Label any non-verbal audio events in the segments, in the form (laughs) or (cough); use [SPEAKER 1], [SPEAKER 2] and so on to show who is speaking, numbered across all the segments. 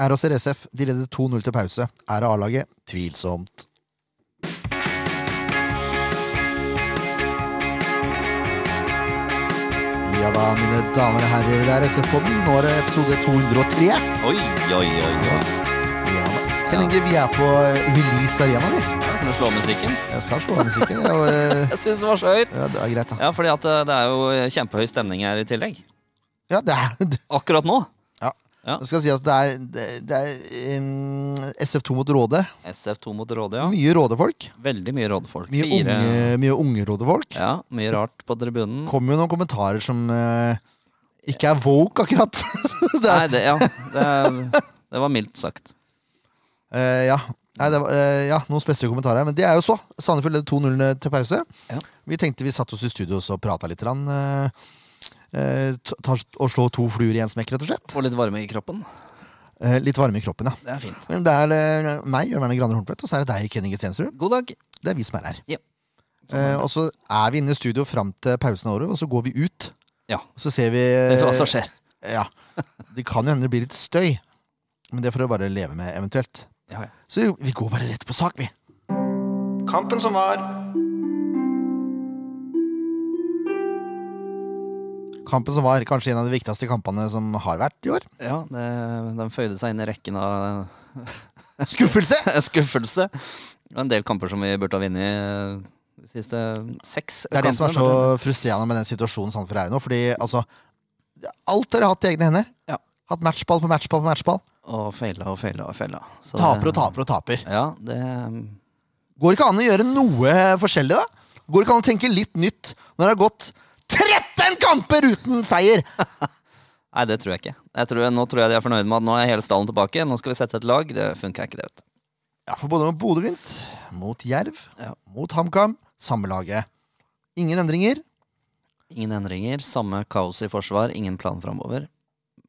[SPEAKER 1] RAC RSF de leder 2-0 til pause. Er det A-laget? Tvilsomt. Ja da, mine damer og herrer, det er SF-podden. Nå er det episode 203. Ja
[SPEAKER 2] Oi, oi, oi. oi.
[SPEAKER 1] da. Ken Inge, vi er på eh, Release Arena, vi.
[SPEAKER 2] Ja, Kan du slå av musikken?
[SPEAKER 1] Jeg skal slå av musikken. og, eh,
[SPEAKER 2] Jeg syns det var så høyt.
[SPEAKER 1] Ja, det er greit, da.
[SPEAKER 2] Ja, fordi at eh, det er jo kjempehøy stemning her i tillegg.
[SPEAKER 1] Ja, det er (laughs)
[SPEAKER 2] Akkurat nå. Ja.
[SPEAKER 1] Jeg skal si at det er, det, det er em, SF2 mot Råde.
[SPEAKER 2] SF2 mot Råde, ja.
[SPEAKER 1] Mye Råde-folk.
[SPEAKER 2] Veldig mye Rådefolk.
[SPEAKER 1] Mye unge, mye unge Råde-folk.
[SPEAKER 2] Ja, mye rart på tribunen.
[SPEAKER 1] kommer jo noen kommentarer som eh, ikke er woke, akkurat. (laughs) det
[SPEAKER 2] Nei,
[SPEAKER 1] er,
[SPEAKER 2] det, ja. Det, er- det var mildt sagt.
[SPEAKER 1] eh, ja. Nei, det var, eh, ja, noen spesielle kommentarer. Men det er jo så. Sandefjord leder 2-0 til pause.
[SPEAKER 2] Ja.
[SPEAKER 1] Vi tenkte vi satte oss i studio og prata litt. grann, eh, eh, ta, og slå to fluer i én smekk, rett og slett.
[SPEAKER 2] Og litt varme i kroppen.
[SPEAKER 1] Eh, litt varme i kroppen, ja.
[SPEAKER 2] Det er fint.
[SPEAKER 1] Men det er eh, meg, Jørn Werner Graner Horntvedt, og så er det deg, Kenny Stensrud.
[SPEAKER 2] God dag.
[SPEAKER 1] Det er vi som er her.
[SPEAKER 2] Ja.
[SPEAKER 1] Eh, og så er vi inne i studio fram til pausen av året, og så går vi ut.
[SPEAKER 2] Ja. Eh,
[SPEAKER 1] Og så ser vi
[SPEAKER 2] Se hva som skjer.
[SPEAKER 1] Ja. Det kan jo hende det blir litt støy, men det får du bare leve med eventuelt.
[SPEAKER 2] Ja, ja.
[SPEAKER 1] Så vi går bare rett på sak, vi.
[SPEAKER 3] Kampen som var.
[SPEAKER 1] Kampen som var kanskje en av de viktigste kampene som har vært i år.
[SPEAKER 2] ja det, den føyde seg inn i rekken av (laughs)
[SPEAKER 1] Skuffelse!
[SPEAKER 2] skuffelse. Det var en del kamper som vi burde ha vunnet eh, de siste seks
[SPEAKER 1] Det er det som er så
[SPEAKER 2] kampene,
[SPEAKER 1] frustrerende med den situasjonen Sandefjord er i nå. Fordi altså Alt dere har hatt i egne hender.
[SPEAKER 2] Ja.
[SPEAKER 1] Hatt matchball på matchball på matchball.
[SPEAKER 2] Og feila og feila og feila. Så
[SPEAKER 1] Taper
[SPEAKER 2] det-
[SPEAKER 1] og taper og taper.
[SPEAKER 2] Ja, det
[SPEAKER 1] Går det ikke an å gjøre noe forskjellig, da? Går det ikke an å tenke litt nytt når det har gått 13 kamper uten seier?
[SPEAKER 2] Nei, det tror jeg ikke. Jeg tror, nå tror jeg de er fornøyd med at nå er hele stallen tilbake. Nå skal vi sette et lag. Det funka ikke, det, vet du.
[SPEAKER 1] Ja, for både mot Bodø-Glimt, mot Jerv,
[SPEAKER 2] Ja.
[SPEAKER 1] mot HamKam, samme laget. Ingen endringer.
[SPEAKER 2] Ingen endringer. Samme kaos i forsvar. Ingen plan framover.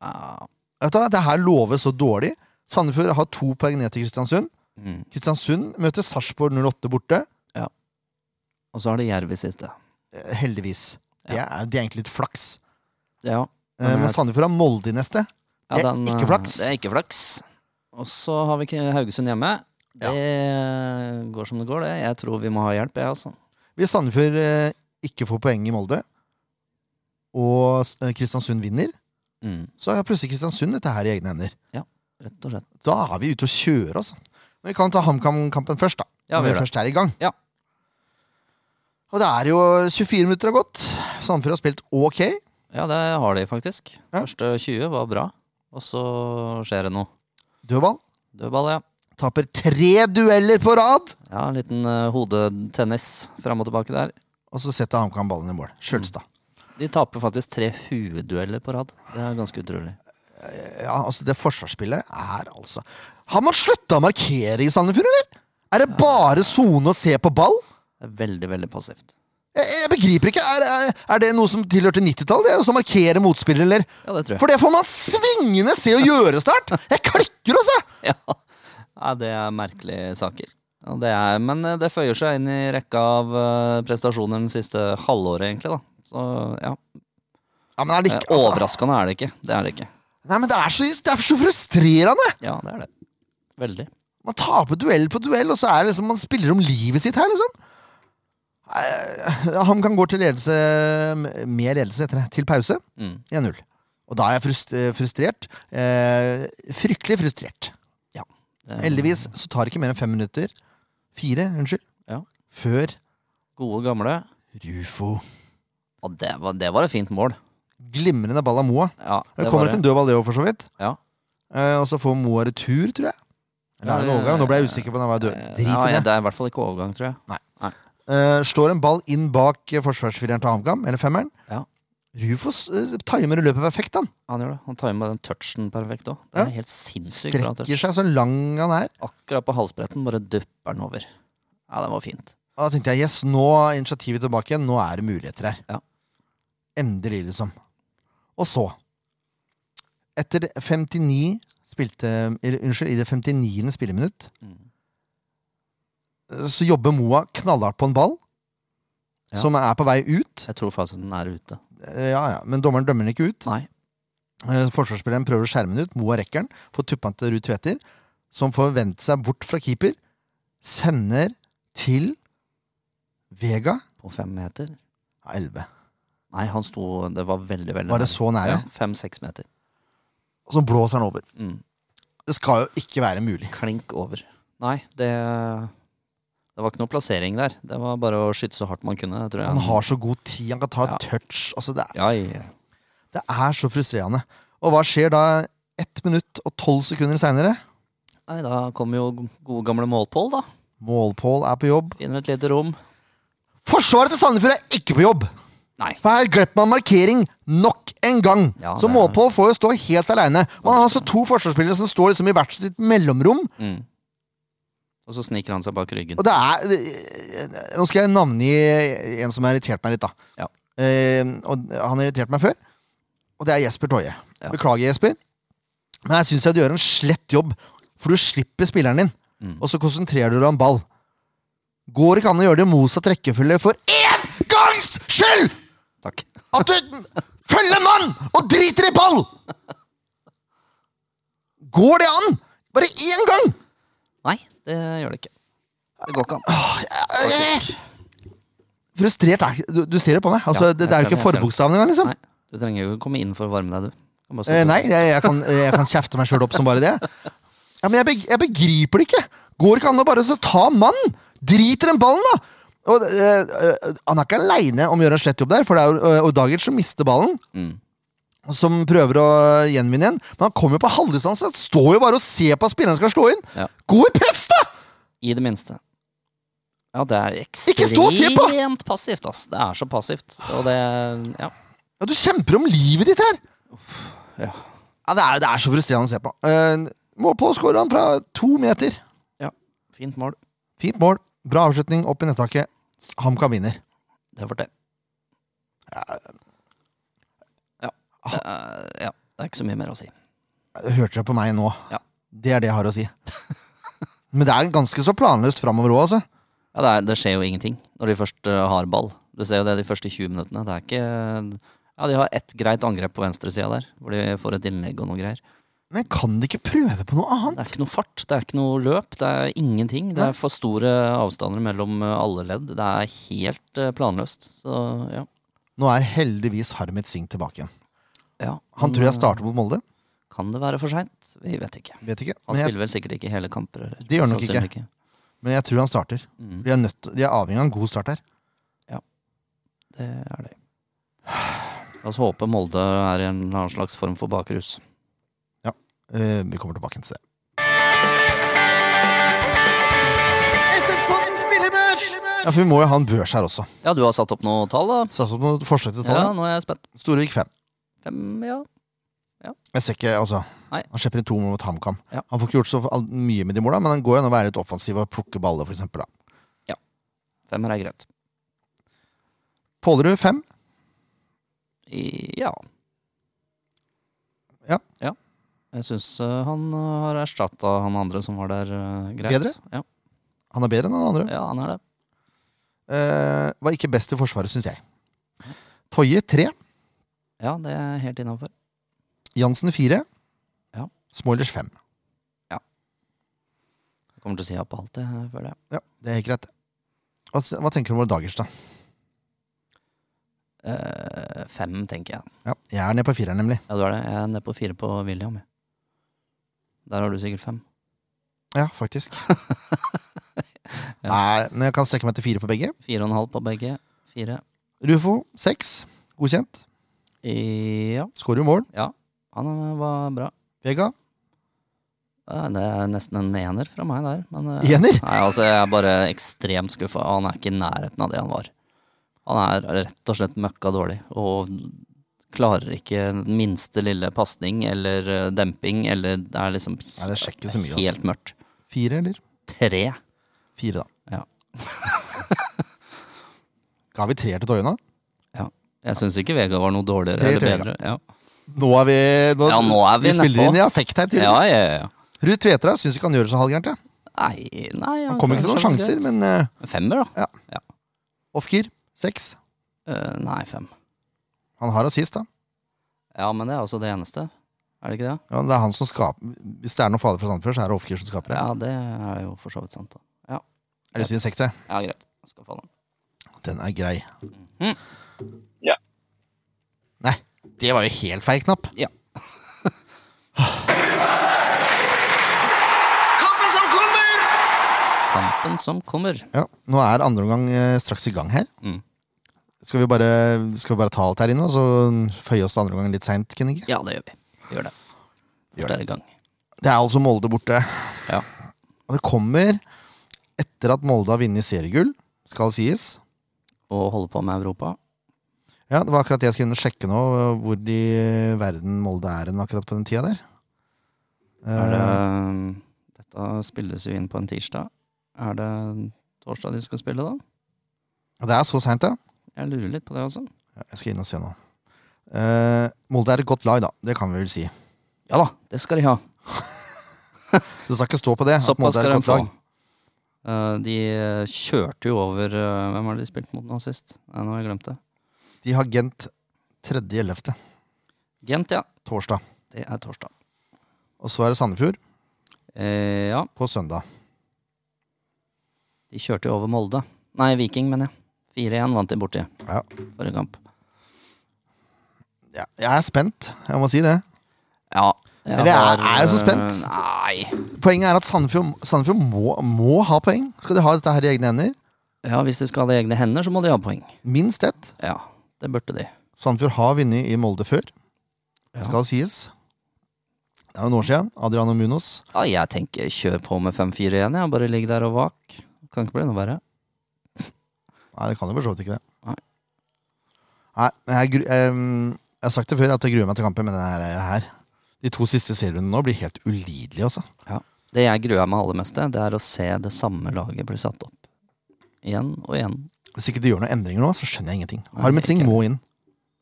[SPEAKER 2] Ja.
[SPEAKER 1] Vet du, hva, det her loves så dårlig. Sandefjord har to poeng ned til Kristiansund.
[SPEAKER 2] Mm.
[SPEAKER 1] Kristiansund møter Sarpsborg 08 borte.
[SPEAKER 2] Og så har de Jerv i siste.
[SPEAKER 1] Eh, Heldigvis. Det, er, det er egentlig litt flaks.
[SPEAKER 2] Ja.
[SPEAKER 1] Eh,
[SPEAKER 2] Men-
[SPEAKER 1] Men Sandefjord har Molde i neste.
[SPEAKER 2] ja
[SPEAKER 1] Det er ikke
[SPEAKER 2] eh,
[SPEAKER 1] flaks.
[SPEAKER 2] Det er ikke flaks. Og så har vi ikke Haugesund hjemme. Det går som det går, det. Jeg tror vi må ha hjelp, jeg, altså.
[SPEAKER 1] Hvis Sandefjord eh, ikke får poeng i Molde, og s- eh, Kristiansund vinner,
[SPEAKER 2] Mm.
[SPEAKER 1] så har plutselig Kristiansund dette her i egne hender.
[SPEAKER 2] Rett og slett.
[SPEAKER 1] Da er vi ute og kjører, altså. Men vi kan ta HamKam-kampen først, da.
[SPEAKER 2] Ja,
[SPEAKER 1] når
[SPEAKER 2] vi gjør
[SPEAKER 1] vi
[SPEAKER 2] det.
[SPEAKER 1] først er i gang.
[SPEAKER 2] Ja.
[SPEAKER 1] Og det er jo 24 minutter har gått. Sandefjord har spilt ok.
[SPEAKER 2] Ja, det har de faktisk.
[SPEAKER 1] Ja.
[SPEAKER 2] Første 20 var bra, og så skjer det noe.
[SPEAKER 1] Dødball.
[SPEAKER 2] Dødball, ja.
[SPEAKER 1] Taper tre dueller på rad.
[SPEAKER 2] Ja, en liten eh, hodetennis fram og tilbake der.
[SPEAKER 1] Og så setter HamKam ballen i mål. Sjølstad.
[SPEAKER 2] Mm. De taper faktisk tre hoveddueller på rad. Det er ganske utrolig.
[SPEAKER 1] Ja, altså Det forsvarsspillet er altså Har man slutta å markere i Sandefjord, eller? Er det bare sone og se på ball?
[SPEAKER 2] Det er veldig, veldig passivt.
[SPEAKER 1] Jeg, jeg begriper ikke. Er, er, er det noe som tilhørte 90-tallet? det? Å markere motspillere, eller?
[SPEAKER 2] Ja, det tror jeg.
[SPEAKER 1] For det får man svingende se og gjøre snart! Jeg klikker, altså!
[SPEAKER 2] (laughs) Ja. Nei, det er merkelige saker. Ja, det er, men eh, det føyer seg inn i rekka av eh, prestasjoner den siste halvåret, egentlig. da. Så ja,
[SPEAKER 1] Ja, men er det
[SPEAKER 2] Eh,
[SPEAKER 1] ikke, altså.
[SPEAKER 2] Overraskende er det ikke. Det er det ikke.
[SPEAKER 1] Nei, men det er, så, det er så frustrerende!
[SPEAKER 2] Ja, det er det. Veldig.
[SPEAKER 1] Man taper duell på duell, og så er det liksom, man spiller om livet sitt her, liksom. Eh, Han kan gå til ledelse med ledelse etter det, til pause.
[SPEAKER 2] Mm.
[SPEAKER 1] 1-0. Og da er jeg frust- eh, frustrert. Eh, fryktelig frustrert.
[SPEAKER 2] Det er
[SPEAKER 1] Heldigvis så tar det ikke mer enn fem minutter. Fire, unnskyld.
[SPEAKER 2] Ja.
[SPEAKER 1] Før
[SPEAKER 2] Gode, gamle.
[SPEAKER 1] Rufo
[SPEAKER 2] Og det var, det var et fint mål.
[SPEAKER 1] Glimrende ball av Moa.
[SPEAKER 2] Ja,
[SPEAKER 1] Det kommer
[SPEAKER 2] var
[SPEAKER 1] til en dødball, det òg, for så vidt.
[SPEAKER 2] Ja.
[SPEAKER 1] Eh, og så får Moa retur, tror jeg. Eller
[SPEAKER 2] Ja,
[SPEAKER 1] er det
[SPEAKER 2] det-
[SPEAKER 1] en overgang? Nå ble jeg usikker på om det var død.
[SPEAKER 2] Eh,
[SPEAKER 1] Drit
[SPEAKER 2] ja,
[SPEAKER 1] i det.
[SPEAKER 2] Det er i hvert fall ikke overgang, tror jeg.
[SPEAKER 1] Eh, slår en ball inn bak eh, forsvarsfireren til HamKam, eller femmeren.
[SPEAKER 2] Ja.
[SPEAKER 1] Rufus eh, timer løpet perfekt. Han
[SPEAKER 2] Han gjør det. Han tar med den touchen perfekt òg. Det
[SPEAKER 1] Ja.
[SPEAKER 2] er helt sinnssykt bra touch.
[SPEAKER 1] strekker seg så lang han er.
[SPEAKER 2] akkurat på halsbretten, bare dupper den over. Ja, det var fint.
[SPEAKER 1] Og da tenkte jeg yes, nå er initiativet tilbake igjen. Nå er det muligheter her.
[SPEAKER 2] Ja.
[SPEAKER 1] Endelig, liksom. Og så Etter 59 spilte eller, Unnskyld, i det 59. spilleminutt
[SPEAKER 2] Mm.
[SPEAKER 1] eh, så jobber Moa knallhardt på en ball.
[SPEAKER 2] Ja.
[SPEAKER 1] Som er på vei ut.
[SPEAKER 2] Jeg tror faktisk den er ute.
[SPEAKER 1] Eh, Ja, ja, Men dommeren dømmer den ikke ut.
[SPEAKER 2] Nei.
[SPEAKER 1] Eh, Forsvarsspilleren prøver å skjerme den ut. Moa rekker den. Får tuppa den til Ruud Tveter, som får vendt seg bort fra keeper. Sender til Vega.
[SPEAKER 2] På fem meter?
[SPEAKER 1] Ja, 11.
[SPEAKER 2] Nei, han sto Det var veldig, veldig
[SPEAKER 1] Var det
[SPEAKER 2] nær.
[SPEAKER 1] så nære?
[SPEAKER 2] Ja, Fem-seks meter.
[SPEAKER 1] Og så blåser han over.
[SPEAKER 2] Mm.
[SPEAKER 1] Det skal jo ikke være mulig.
[SPEAKER 2] Klink over. Nei, det Det var ikke noe plassering der. Det var bare å skyte så hardt man kunne. Tror jeg.
[SPEAKER 1] Han har så god tid. Han kan ta et
[SPEAKER 2] Ja.
[SPEAKER 1] touch. Altså, det, er,
[SPEAKER 2] Ja, ja.
[SPEAKER 1] det er så frustrerende. Og hva skjer da ett minutt og tolv sekunder seinere?
[SPEAKER 2] Nei, da kommer jo gode gamle målpål, da.
[SPEAKER 1] Målpål er på jobb.
[SPEAKER 2] Finner et lite rom.
[SPEAKER 1] Forsvaret til Sandefjord er ikke på jobb!
[SPEAKER 2] Nei.
[SPEAKER 1] For her glemte man markering nok en gang.
[SPEAKER 2] Ja,
[SPEAKER 1] så
[SPEAKER 2] det er-
[SPEAKER 1] Målpål får jo stå helt aleine. Man har altså to forsvarsspillere som står liksom i hvert sitt mellomrom.
[SPEAKER 2] Mm. Og så sniker han seg bak ryggen.
[SPEAKER 1] Og det er det- Nå skal jeg navngi en som har irritert meg litt, da.
[SPEAKER 2] Ja.
[SPEAKER 1] Eh, og han har irritert meg før. Og det er Jesper Toje.
[SPEAKER 2] Ja.
[SPEAKER 1] Beklager, Jesper. Men her syns jeg du gjør en slett jobb. For du slipper spilleren din,
[SPEAKER 2] Mm.
[SPEAKER 1] og så konsentrerer du deg om ball. Går ikke an å gjøre det i motsatt rekkefølge for én gangs skyld!
[SPEAKER 2] Takk.
[SPEAKER 1] At du følger mann og driter i ball! Går det an? Bare én gang!
[SPEAKER 2] Nei, det gjør det ikke. Det går ikke
[SPEAKER 1] Ah,
[SPEAKER 2] an.
[SPEAKER 1] Eh. Frustrert er ikke du, du ser det på meg. Altså,
[SPEAKER 2] Ja,
[SPEAKER 1] det,
[SPEAKER 2] jeg
[SPEAKER 1] det er jo
[SPEAKER 2] ser
[SPEAKER 1] ikke
[SPEAKER 2] det, jeg ser det.
[SPEAKER 1] forbokstaven engang. liksom
[SPEAKER 2] Nei, Du trenger jo ikke komme inn for å varme deg, du. Du kan bare stå
[SPEAKER 1] Eh,
[SPEAKER 2] på.
[SPEAKER 1] nei, jeg, jeg, kan, jeg kan kjefte meg sjøl opp som bare det. Ja, men jeg, beg- jeg begriper det ikke! Går ikke an å bare så ta mannen! Drit i den ballen, da! Og, eh, eh, han er ikke aleine om å gjøre en slett jobb der, for det er jo eh, Odagic som mister ballen.
[SPEAKER 2] Mm.
[SPEAKER 1] Som prøver å gjenvinne igjen. Men han kommer jo på halvdistanse. Står jo bare og ser på at spilleren skal slå inn.
[SPEAKER 2] Ja.
[SPEAKER 1] Gå i press, da!
[SPEAKER 2] I det minste. Ja, det er
[SPEAKER 1] Ikke stå og se på!
[SPEAKER 2] ekstremt passivt, ass. Det er så passivt. Og det Ja.
[SPEAKER 1] Ja, du kjemper om livet ditt her!
[SPEAKER 2] ja.
[SPEAKER 1] Ja, Det er, det er så frustrerende å se på. Uh, Målpå skårer han fra to meter.
[SPEAKER 2] ja. Fint mål.
[SPEAKER 1] Fint mål. Bra avslutning opp i nettaket. HamKam vinner.
[SPEAKER 2] Det var det. Ja.
[SPEAKER 1] Ah.
[SPEAKER 2] Det er, Eh, ja. Det er ikke så mye mer å si.
[SPEAKER 1] Hørte dere på meg nå?
[SPEAKER 2] Ja.
[SPEAKER 1] Det er det jeg har å si. Men det er ganske så planløst framover òg, altså.
[SPEAKER 2] Ja, det, er, det skjer jo ingenting når de først eh, har ball. Du ser jo det de første 20 minuttene. Det er ikke Ja, de har ett greit angrep på venstresida der, hvor de får et innlegg og noe greier.
[SPEAKER 1] Men kan de ikke prøve på noe
[SPEAKER 2] Det
[SPEAKER 1] annet?
[SPEAKER 2] er ikke noe fart, det er ikke noe løp, det er ingenting. Det
[SPEAKER 1] Nei.
[SPEAKER 2] er for store avstander mellom eh, alle ledd. Det er helt eh, planløst. Så ja.
[SPEAKER 1] Nå er heldigvis Harmet Singh tilbake igjen.
[SPEAKER 2] ja.
[SPEAKER 1] Han tror jeg
[SPEAKER 2] Men,
[SPEAKER 1] starter mot Molde.
[SPEAKER 2] eh, Kan det være for seint? Vi vet ikke.
[SPEAKER 1] Vet ikke.
[SPEAKER 2] Han
[SPEAKER 1] Men jeg,
[SPEAKER 2] spiller vel sikkert ikke hele kamper. Eller?
[SPEAKER 1] Det gjør han nok
[SPEAKER 2] Sannsynlig
[SPEAKER 1] men jeg tror han starter.
[SPEAKER 2] Mm,
[SPEAKER 1] De er, nødt, til- de er avhengig av en god start her.
[SPEAKER 2] det er det. La oss håpe Molde er i en eller annen slags form for bakrus.
[SPEAKER 1] Eh, vi kommer tilbake til det. Ja, for vi må jo ha en børs her også. altså,
[SPEAKER 2] Ja, du har satt opp noe tall, da?
[SPEAKER 1] Satt opp noen forsøk til
[SPEAKER 2] Ja,
[SPEAKER 1] tallet.
[SPEAKER 2] nå er jeg spent.
[SPEAKER 1] Storevik fem.
[SPEAKER 2] Fem, ja.
[SPEAKER 1] Jeg ser ikke, altså
[SPEAKER 2] Nei.
[SPEAKER 1] Han slipper inn to mål mot HamKam.
[SPEAKER 2] Ja.
[SPEAKER 1] Han får ikke gjort så all- mye med de måla, men han går gjennom å være litt offensiv og plukke baller, for eksempel. Da.
[SPEAKER 2] Femmer er greit.
[SPEAKER 1] Pålerud fem.
[SPEAKER 2] I, ja.
[SPEAKER 1] Ja.
[SPEAKER 2] Jeg syns han eh, har erstatta han andre som var der, eh, greit.
[SPEAKER 1] Bedre?
[SPEAKER 2] Ja.
[SPEAKER 1] Han er bedre enn han andre.
[SPEAKER 2] ja, han er det.
[SPEAKER 1] Eh, var ikke best i forsvaret, syns jeg. Toje tre.
[SPEAKER 2] Ja, det er helt innafor.
[SPEAKER 1] Jansen fire.
[SPEAKER 2] Ja.
[SPEAKER 1] Smoilers fem.
[SPEAKER 2] Kommer til å si ja på alt, jeg føler jeg.
[SPEAKER 1] Ja, det er helt greit. Hva, hva tenker du om våre dagers, da?
[SPEAKER 2] Eh, fem, tenker jeg.
[SPEAKER 1] Ja, jeg er nede på fireren, nemlig.
[SPEAKER 2] Ja, du er det. Jeg er nede på fire på William. jeg. Der har du sikkert fem.
[SPEAKER 1] Ja, faktisk.
[SPEAKER 2] (laughs) Ja.
[SPEAKER 1] Nei, men jeg kan strekke meg til fire for begge.
[SPEAKER 2] Fire og en halv på begge. Fire.
[SPEAKER 1] Rufo seks. Godkjent.
[SPEAKER 2] I, ja,
[SPEAKER 1] Skårer jo mål.
[SPEAKER 2] han eh, var bra.
[SPEAKER 1] Vega
[SPEAKER 2] Ja, Det er nesten en ener fra meg der. Men, eh,
[SPEAKER 1] Ener?
[SPEAKER 2] Nei, altså, jeg er bare ekstremt skuffa. Han er ikke i nærheten av det han var. Han er rett og slett møkka dårlig. Og klarer ikke den minste lille pasning eller eh, demping eller Det er liksom
[SPEAKER 1] Nei, det sjekker så mye, altså.
[SPEAKER 2] helt mørkt.
[SPEAKER 1] fire, eller?
[SPEAKER 2] Tre.
[SPEAKER 1] Fire, da.
[SPEAKER 2] Ja.
[SPEAKER 1] (laughs) Ga vi treer til Toje nå?
[SPEAKER 2] Jeg syns ikke Vega var noe dårligere
[SPEAKER 1] Tre
[SPEAKER 2] eller
[SPEAKER 1] til
[SPEAKER 2] bedre. Ja,
[SPEAKER 1] Nå er vi nå,
[SPEAKER 2] Ja, nå er vi
[SPEAKER 1] spiller
[SPEAKER 2] nedpå.
[SPEAKER 1] inn i affekt her,
[SPEAKER 2] ja,
[SPEAKER 1] tydeligvis.
[SPEAKER 2] ja. ja.
[SPEAKER 1] Ruud Tvetra syns ikke han gjør det så halvgærent. jeg.
[SPEAKER 2] Nei, nei
[SPEAKER 1] Han kommer ikke til noen sjanser, men uh,
[SPEAKER 2] Femmer, da?
[SPEAKER 1] Ofker seks.
[SPEAKER 2] Eh, nei, fem.
[SPEAKER 1] Han har assist, da.
[SPEAKER 2] Ja, men det er også det eneste. Er det ikke det?
[SPEAKER 1] Ja, det er han som skaper Hvis det er noen fader fra Sandefjord, så er det Ofkir som skaper det.
[SPEAKER 2] Ja, det er jo for så vidt sant, da. Ja,
[SPEAKER 1] Jeg har lyst til å gi en sekser.
[SPEAKER 2] ja greit. Jeg Skal få den.
[SPEAKER 1] Den er grei.
[SPEAKER 2] Mhm.
[SPEAKER 4] Ja.
[SPEAKER 1] Nei, det var jo helt feil knapp.
[SPEAKER 2] Ja.
[SPEAKER 3] Kampen som kommer!
[SPEAKER 2] Kampen som kommer.
[SPEAKER 1] Ja, nå er andre omgang eh, straks i gang her.
[SPEAKER 2] Mhm.
[SPEAKER 1] Skal, vi bare, skal vi bare ta alt her inne, og så føye oss til andre omgang litt seint? Det
[SPEAKER 2] Ja, det gjør vi. Vi gjør det.
[SPEAKER 1] Gjør
[SPEAKER 2] Først er det i gang.
[SPEAKER 1] er altså Molde borte.
[SPEAKER 2] Ja.
[SPEAKER 1] Og det kommer etter at Molde har vunnet seriegull, skal sies.
[SPEAKER 2] Og holde på med Europa.
[SPEAKER 1] Ja, Det var akkurat det jeg skulle sjekke nå, hvor i verden Molde er hen akkurat på den tida der.
[SPEAKER 2] Er det,
[SPEAKER 1] Eh,
[SPEAKER 2] dette spilles jo inn på en tirsdag. Er det torsdag de skal spille, da?
[SPEAKER 1] Eh, det er så seint, ja.
[SPEAKER 2] Jeg lurer litt på det, altså.
[SPEAKER 1] Ja, Jeg skal inn og se nå. Eh, Molde er et godt lag, da. Det kan vi vel si.
[SPEAKER 2] Ja da, det skal de ha.
[SPEAKER 1] Det skal ikke stå på det. at
[SPEAKER 2] Såpass
[SPEAKER 1] Molde er
[SPEAKER 2] skal
[SPEAKER 1] et
[SPEAKER 2] de
[SPEAKER 1] godt
[SPEAKER 2] få.
[SPEAKER 1] lag.
[SPEAKER 2] Eh, de kjørte jo over eh, Hvem var det de spilte mot nå sist? Nei, nå har jeg glemt det.
[SPEAKER 1] De har Gent 3.11.
[SPEAKER 2] Gent, ja.
[SPEAKER 1] torsdag.
[SPEAKER 2] Det er torsdag.
[SPEAKER 1] Og så er det Sandefjord
[SPEAKER 2] Eh, ja,
[SPEAKER 1] på søndag.
[SPEAKER 2] de kjørte jo over Molde. Nei, Viking, mener jeg. 4-1 vant de borti
[SPEAKER 1] Ja.
[SPEAKER 2] forrige kamp.
[SPEAKER 1] Ja, jeg er spent, jeg må si det.
[SPEAKER 2] Ja. øh,
[SPEAKER 1] Men det er- er jeg så spent?
[SPEAKER 2] Nei.
[SPEAKER 1] Poenget er at Sandefjord, Sandefjord må, må ha poeng. Skal de ha dette her i egne hender?
[SPEAKER 2] Ja, hvis de skal ha det i egne hender, så må de ha poeng.
[SPEAKER 1] Minst ett.
[SPEAKER 2] Ja, det burde de.
[SPEAKER 1] Sandefjord har vunnet i Molde før,
[SPEAKER 2] Ja.
[SPEAKER 1] skal sies. Det er noen år siden. Adriano Munoz.
[SPEAKER 2] Ja, jeg tenker kjør på med 5-4 igjen, jeg. Bare ligg der og vak. Kan ikke bli noe verre.
[SPEAKER 1] Nei, det kan jo for så vidt ikke det.
[SPEAKER 2] Nei.
[SPEAKER 1] Nei, men jeg, gru- ehm, jeg har sagt det før at jeg gruer meg til kampen, men den her, her De to siste serierundene nå blir helt ulidelige, altså.
[SPEAKER 2] Det jeg gruer meg aller mest til, det er å se det samme laget bli satt opp. Igjen og igjen.
[SPEAKER 1] Hvis ikke de gjør noen endringer nå, så skjønner jeg ingenting.
[SPEAKER 2] Nei,
[SPEAKER 1] Harmet
[SPEAKER 2] det er
[SPEAKER 1] Singh
[SPEAKER 2] ikke-
[SPEAKER 1] må inn.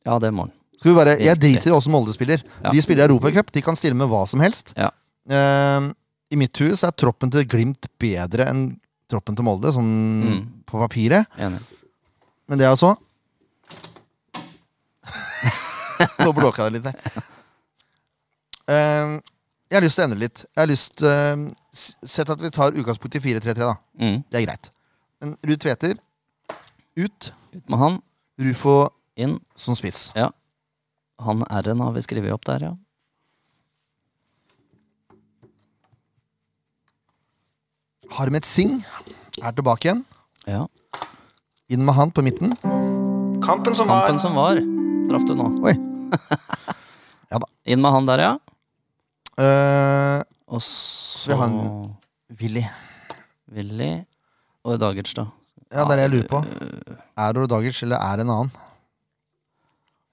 [SPEAKER 2] Ja, det er morgen.
[SPEAKER 1] Skal vi bare, Jeg
[SPEAKER 2] Virkelig.
[SPEAKER 1] driter i åssen Molde spiller.
[SPEAKER 2] Ja.
[SPEAKER 1] De spiller Europacup, de kan stille med hva som helst.
[SPEAKER 2] Ja.
[SPEAKER 1] Ehm, I mitt hus er troppen til Glimt bedre enn troppen til Molde, sånn
[SPEAKER 2] Mm.
[SPEAKER 1] på papiret.
[SPEAKER 2] Enig.
[SPEAKER 1] Men det er jo så (laughs) Nå blåka det litt der. Ehm, jeg har lyst til å endre litt. Jeg har lyst ehm, s- Sett at vi tar utgangspunkt i 4-3-3, da.
[SPEAKER 2] Mm.
[SPEAKER 1] Det er greit. Men Ruud Tveter ut.
[SPEAKER 2] Ut med han,
[SPEAKER 1] Rufo
[SPEAKER 2] inn.
[SPEAKER 1] som spiss.
[SPEAKER 2] Ja. Han R-en har vi skrevet opp der, ja.
[SPEAKER 1] Harmet Singh er tilbake igjen.
[SPEAKER 2] ja.
[SPEAKER 1] Inn med han på midten.
[SPEAKER 3] Kampen som var
[SPEAKER 2] Kampen som var, traff du nå. (laughs)
[SPEAKER 1] Oi. Ja da.
[SPEAKER 2] Inn med han der, ja.
[SPEAKER 1] Eh,
[SPEAKER 2] Og så
[SPEAKER 1] vi har en- Willy.
[SPEAKER 2] Willy og Dagerstad.
[SPEAKER 1] Ja, det er det jeg lurer på. Er det Dagic eller er det en annen?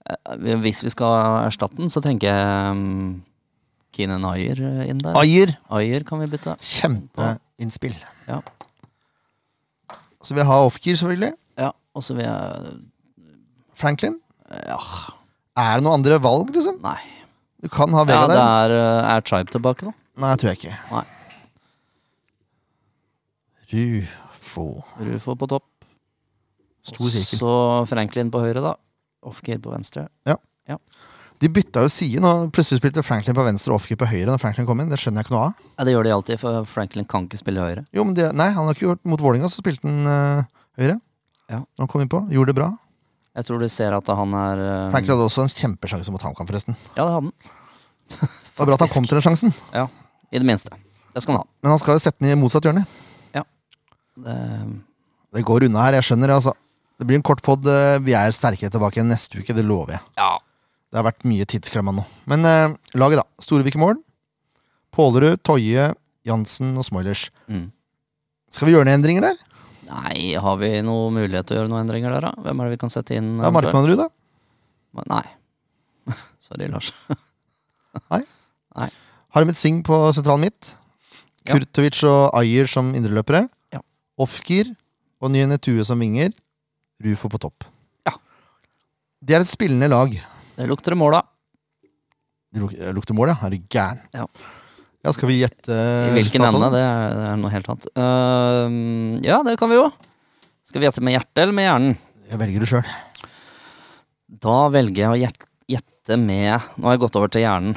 [SPEAKER 2] Eh, Hvis vi skal erstatte den, så tenker jeg um, Keenan Ayer eh, inn der.
[SPEAKER 1] Ayer.
[SPEAKER 2] Ayer kan vi bytte.
[SPEAKER 1] Kjempeinnspill.
[SPEAKER 2] Ja.
[SPEAKER 1] Så vi har Ofkir, selvfølgelig.
[SPEAKER 2] Ja, og så vil jeg
[SPEAKER 1] Franklin.
[SPEAKER 2] Ja,
[SPEAKER 1] Er det noen andre valg, liksom?
[SPEAKER 2] nei.
[SPEAKER 1] Du kan ha
[SPEAKER 2] Ja,
[SPEAKER 1] Vega
[SPEAKER 2] det
[SPEAKER 1] der.
[SPEAKER 2] er, eh, er Tribe tilbake, da.
[SPEAKER 1] Nei, tror jeg ikke.
[SPEAKER 2] Nei.
[SPEAKER 1] Rufo.
[SPEAKER 2] Rufo på topp.
[SPEAKER 1] Stor sirkel.
[SPEAKER 2] Så Franklin på høyre, da. Offgear på venstre.
[SPEAKER 1] De bytta jo side nå. Plutselig spilte Franklin på venstre og Ofkir på høyre når Franklin kom inn. Det skjønner jeg ikke noe av.
[SPEAKER 2] Ja, det gjør de alltid, for Franklin kan ikke spille høyre.
[SPEAKER 1] Jo, men det, nei, han har ikke gjort mot Vålinga, så spilte han eh, høyre.
[SPEAKER 2] Ja.
[SPEAKER 1] Når han kom innpå. Gjorde det bra.
[SPEAKER 2] Jeg tror de ser at han er eh,
[SPEAKER 1] Franklin hadde også en kjempesjanse mot HamKam, forresten.
[SPEAKER 2] Ja, det hadde han.
[SPEAKER 1] Det var bra at han kom til den sjansen,
[SPEAKER 2] Ja, I det minste. Det skal han ha.
[SPEAKER 1] men han skal jo sette den i motsatt hjørne.
[SPEAKER 2] Det-
[SPEAKER 1] Det går unna her, jeg skjønner det, altså. Det blir en kort pod. Vi er sterkere tilbake igjen neste uke, det lover jeg.
[SPEAKER 2] ja.
[SPEAKER 1] Det har vært mye tidsklemma nå. Men eh, laget, da. Storevik i mål. Pålerud, Toje, Jansen og Smoilers.
[SPEAKER 2] Mm.
[SPEAKER 1] Skal vi gjøre noen endringer der?
[SPEAKER 2] Nei, har vi noen mulighet til å gjøre noen endringer der, da? Hvem er det vi kan sette inn?
[SPEAKER 1] Da er
[SPEAKER 2] eventuelt?
[SPEAKER 1] Markmannrud, da.
[SPEAKER 2] Nei. (laughs) Sorry, Lars.
[SPEAKER 1] Harmet Singh på sentral midt.
[SPEAKER 2] Ja.
[SPEAKER 1] Kurtovic og Ayer som indreløpere.
[SPEAKER 2] Ja.
[SPEAKER 1] Ofkir og Nyene Tue som vinger. Rufo på topp.
[SPEAKER 2] Ja.
[SPEAKER 1] Det er et spillende lag.
[SPEAKER 2] Det lukter det mål, da.
[SPEAKER 1] Det luk- eh, lukter mål, ja. Er du gæren?
[SPEAKER 2] Ja.
[SPEAKER 1] Ja, skal vi gjette
[SPEAKER 2] I hvilken
[SPEAKER 1] resultatet?
[SPEAKER 2] ende? Det er, det er noe helt annet. Ehm, ja, det kan vi jo. Skal vi gjette med hjertet eller med hjernen?
[SPEAKER 1] Jeg velger det sjøl.
[SPEAKER 2] Da velger jeg å gjette gjette med Nå har jeg gått over til hjernen.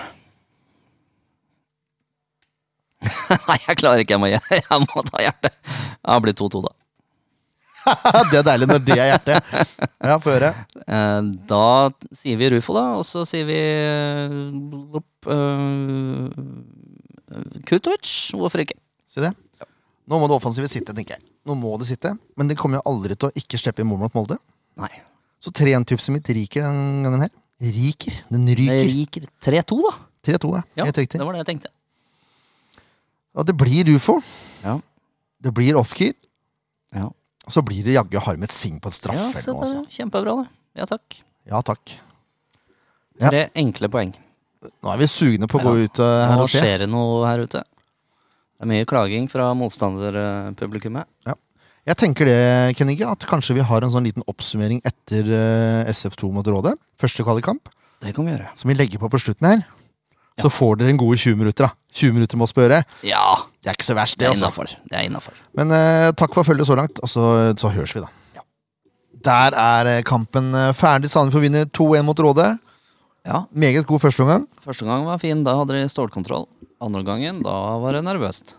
[SPEAKER 2] (laughs) Nei, jeg klarer ikke. Jeg må, (laughs) jeg må ta hjertet. Ja, Det blir 2-2, da.
[SPEAKER 1] det er deilig når det er hjertet. Ja, få høre.
[SPEAKER 2] Eh, Da sier vi Rufo, da, og så sier vi eh, opp, eh, Kutovic. Hvorfor ikke?
[SPEAKER 1] Si det. Nå må det offensive sitte, tenker jeg. Nå må det sitte, Men det kommer jo aldri til å ikke slippe inn mål mot Molde.
[SPEAKER 2] Nei.
[SPEAKER 1] Så 3-1-tipset mitt riker den gangen her. Riker. Den
[SPEAKER 2] Det
[SPEAKER 1] ryker.
[SPEAKER 2] ryker 3-2, da.
[SPEAKER 1] 3-2, ja.
[SPEAKER 2] Ja,
[SPEAKER 1] Helt riktig.
[SPEAKER 2] det var det jeg tenkte.
[SPEAKER 1] Og det blir ufo.
[SPEAKER 2] Ja.
[SPEAKER 1] Det blir offkeer.
[SPEAKER 2] Ja.
[SPEAKER 1] Og så blir det jaggu Harmet Singh på en straff.
[SPEAKER 2] Ja,
[SPEAKER 1] eller
[SPEAKER 2] så
[SPEAKER 1] noe,
[SPEAKER 2] det er
[SPEAKER 1] altså.
[SPEAKER 2] jo kjempebra, det. Ja takk.
[SPEAKER 1] ja takk. Ja.
[SPEAKER 2] Tre enkle poeng.
[SPEAKER 1] Nå er vi sugne på å gå ut eh, her
[SPEAKER 2] Nå
[SPEAKER 1] og se.
[SPEAKER 2] skjer det noe her ute. Det er mye klaging fra motstanderpublikummet.
[SPEAKER 1] Jeg tenker det, Kenninge, at kanskje vi har en sånn liten oppsummering etter eh, SF2 mot Råde. Første kvalikkamp,
[SPEAKER 2] Det kan vi gjøre.
[SPEAKER 1] som vi legger på på slutten her. Så får dere en gode 20 minutter, da. 20 minutter med oss på øret.
[SPEAKER 2] Ja,
[SPEAKER 1] Det er ikke så verst, det,
[SPEAKER 2] det er
[SPEAKER 1] altså.
[SPEAKER 2] innafor. Det er innafor.
[SPEAKER 1] Men eh, takk for følget så langt, og så, så høres vi, da. Der er eh, kampen eh, ferdig. Sandefjord vinner 2-1 mot Råde.
[SPEAKER 2] Ja,
[SPEAKER 1] Meget god førsteomgang.
[SPEAKER 2] første gang var fin. Da hadde de stålkontroll. Andre gangen, da var det nervøst.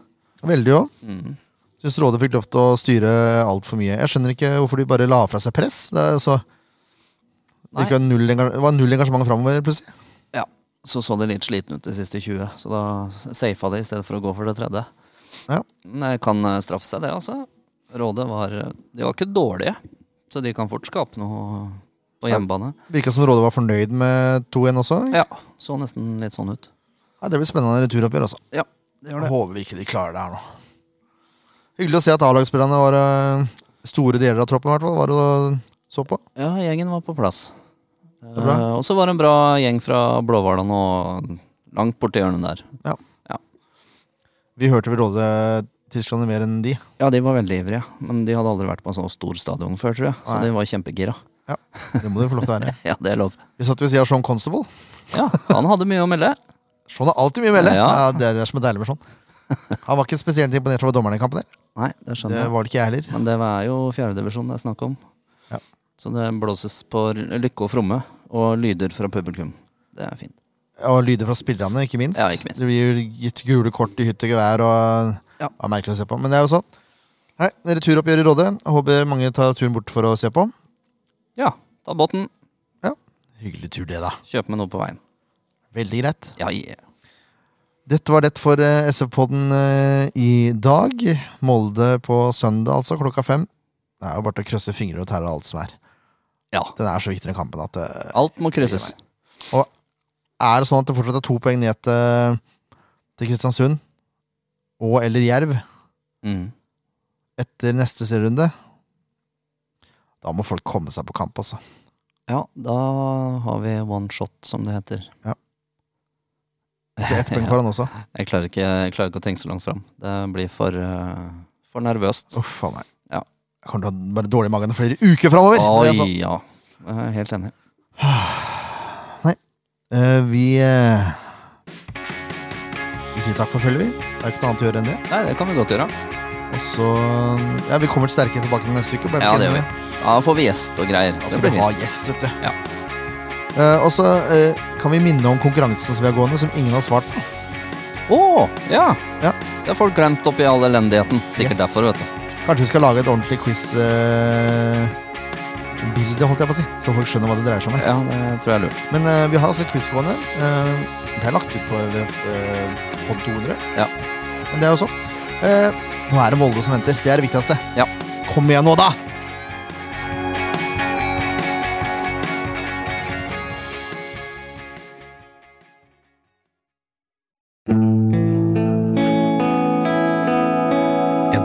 [SPEAKER 1] Veldig òg.
[SPEAKER 2] Mhm.
[SPEAKER 1] Syns Råde fikk lov til å styre altfor mye. Jeg skjønner ikke hvorfor de bare la fra seg press. Det, er så, det,
[SPEAKER 2] Nei.
[SPEAKER 1] ikke var null enga- det var null engasjement framover, plutselig.
[SPEAKER 2] Ja. Så så de litt slitne ut de siste 20, så da safa de i stedet for å gå for det tredje.
[SPEAKER 1] Ja.
[SPEAKER 2] Men det kan eh, straffe seg, det, altså. Rådet var eh, De var ikke dårlige, så de kan fort skape noe på
[SPEAKER 1] Ja.
[SPEAKER 2] hjemmebane.
[SPEAKER 1] Virka som Råde var fornøyd med 2-1 også.
[SPEAKER 2] Ja. Så nesten litt sånn ut.
[SPEAKER 1] Nei, det blir spennende returoppgjør, altså.
[SPEAKER 2] Ja, det gjør det.
[SPEAKER 1] Håper vi ikke de klarer det her nå. Hyggelig å se at A-lagsspillerne var øh, store deler av troppen, i hvert fall. Var og så på.
[SPEAKER 2] Ja, gjengen var på plass.
[SPEAKER 1] er bra.
[SPEAKER 2] Eh, og så var det en bra gjeng fra Blåhvaland og langt borti hjørnet der.
[SPEAKER 1] Vi hørte vel Råde Tyskland mer enn de.
[SPEAKER 2] Ja, de var veldig ivrige, men de hadde aldri vært på en sånn stor stadion før, tror jeg. Så
[SPEAKER 1] Nei.
[SPEAKER 2] de var kjempegira.
[SPEAKER 1] Det må de få lov til
[SPEAKER 2] (laughs)
[SPEAKER 1] å være.
[SPEAKER 2] Ja, det er lov.
[SPEAKER 1] Vi satt ved siden av Sean Constable.
[SPEAKER 2] Ja, han hadde mye å melde.
[SPEAKER 1] Sean har alltid mye å melde. Ja.
[SPEAKER 2] Ja.
[SPEAKER 1] det er det som er deilig med Sean. Han var ikke spesielt imponert over dommerne i kampen. der.
[SPEAKER 2] Nei, det skjønner
[SPEAKER 1] Det
[SPEAKER 2] jeg.
[SPEAKER 1] var det ikke jeg heller.
[SPEAKER 2] Men det er jo fjerdedivisjon det er snakk om.
[SPEAKER 1] Ja.
[SPEAKER 2] Så det blåses på lykke og fromme, og lyder fra publikum. Det er fint.
[SPEAKER 1] Og lyder fra spillerne, ikke minst.
[SPEAKER 2] Ja, ikke minst.
[SPEAKER 1] Det blir gitt gule kort i hytt og gevær. Og...
[SPEAKER 2] Ja.
[SPEAKER 1] Det var merkelig å se på. Men det er jo sånn. Hei, Returoppgjør i Råde. Håper mange tar turen bort for å se på.
[SPEAKER 2] Ja, ta båten.
[SPEAKER 1] Hyggelig tur, det, da.
[SPEAKER 2] Kjøp med noe på veien.
[SPEAKER 1] Veldig greit.
[SPEAKER 2] Ja, yeah.
[SPEAKER 1] Dette var det for eh, SF-podden eh, i dag. Molde på søndag, altså, klokka fem. Det er jo bare til å krysse fingre og tære og alt som er.
[SPEAKER 2] ja.
[SPEAKER 1] Den er så viktig, den kampen, at eh,
[SPEAKER 2] Alt må krysses.
[SPEAKER 1] Er det sånn at det fortsatt er to poeng ned til, eh, til Kristiansund og eller Jerv
[SPEAKER 2] Mm.
[SPEAKER 1] etter neste serierunde? Da må folk komme seg på kamp, altså.
[SPEAKER 2] Ja, da har vi one shot, som det heter.
[SPEAKER 1] Så ett
[SPEAKER 2] (laughs)
[SPEAKER 1] poeng foran også.
[SPEAKER 2] Jeg klarer ikke, jeg klarer ikke å tenke så langt fram. Det blir for, eh, for nervøst.
[SPEAKER 1] Uff a meg.
[SPEAKER 2] Ja.
[SPEAKER 1] Jeg kommer til å ha bare dårlig mage i flere uker framover. altså
[SPEAKER 2] Oi, sånn. ja. Jeg er helt enig.
[SPEAKER 1] vi eh, Vi sier takk for følget, vi. Det er ikke noe annet å gjøre enn det.
[SPEAKER 2] Nei, det kan vi godt gjøre.
[SPEAKER 1] Og så Ja, vi kommer sterkere tilbake neste uke. bare
[SPEAKER 2] Ja, det
[SPEAKER 1] ikke-
[SPEAKER 2] gjør vi. Da får vi gjest og greier.
[SPEAKER 1] Da
[SPEAKER 2] Det
[SPEAKER 1] skal
[SPEAKER 2] blir
[SPEAKER 1] Altså, vi ha
[SPEAKER 2] fint.
[SPEAKER 1] gjest, vet du.
[SPEAKER 2] Ja.
[SPEAKER 1] Eh, og så eh, kan vi minne om konkurransen som vi har gående, som ingen har svart på.
[SPEAKER 2] Å, ja.
[SPEAKER 1] Ja.
[SPEAKER 2] Det har folk glemt oppi all elendigheten. Sikkert
[SPEAKER 1] Yes.
[SPEAKER 2] derfor, vet du.
[SPEAKER 1] Kanskje vi skal lage et ordentlig quiz-bilde, holdt jeg på å si. Så folk skjønner hva det dreier seg om. her.
[SPEAKER 2] Ja, det tror jeg er lurt.
[SPEAKER 1] Men eh, vi har altså quiz gående. Eh, det er lagt ut på uh, pod 200.
[SPEAKER 2] Ja.
[SPEAKER 1] Men det er jo sånn. Eh, nå er det Volde som venter. Det er det viktigste.
[SPEAKER 2] Ja.
[SPEAKER 1] Kom igjen nå, da! En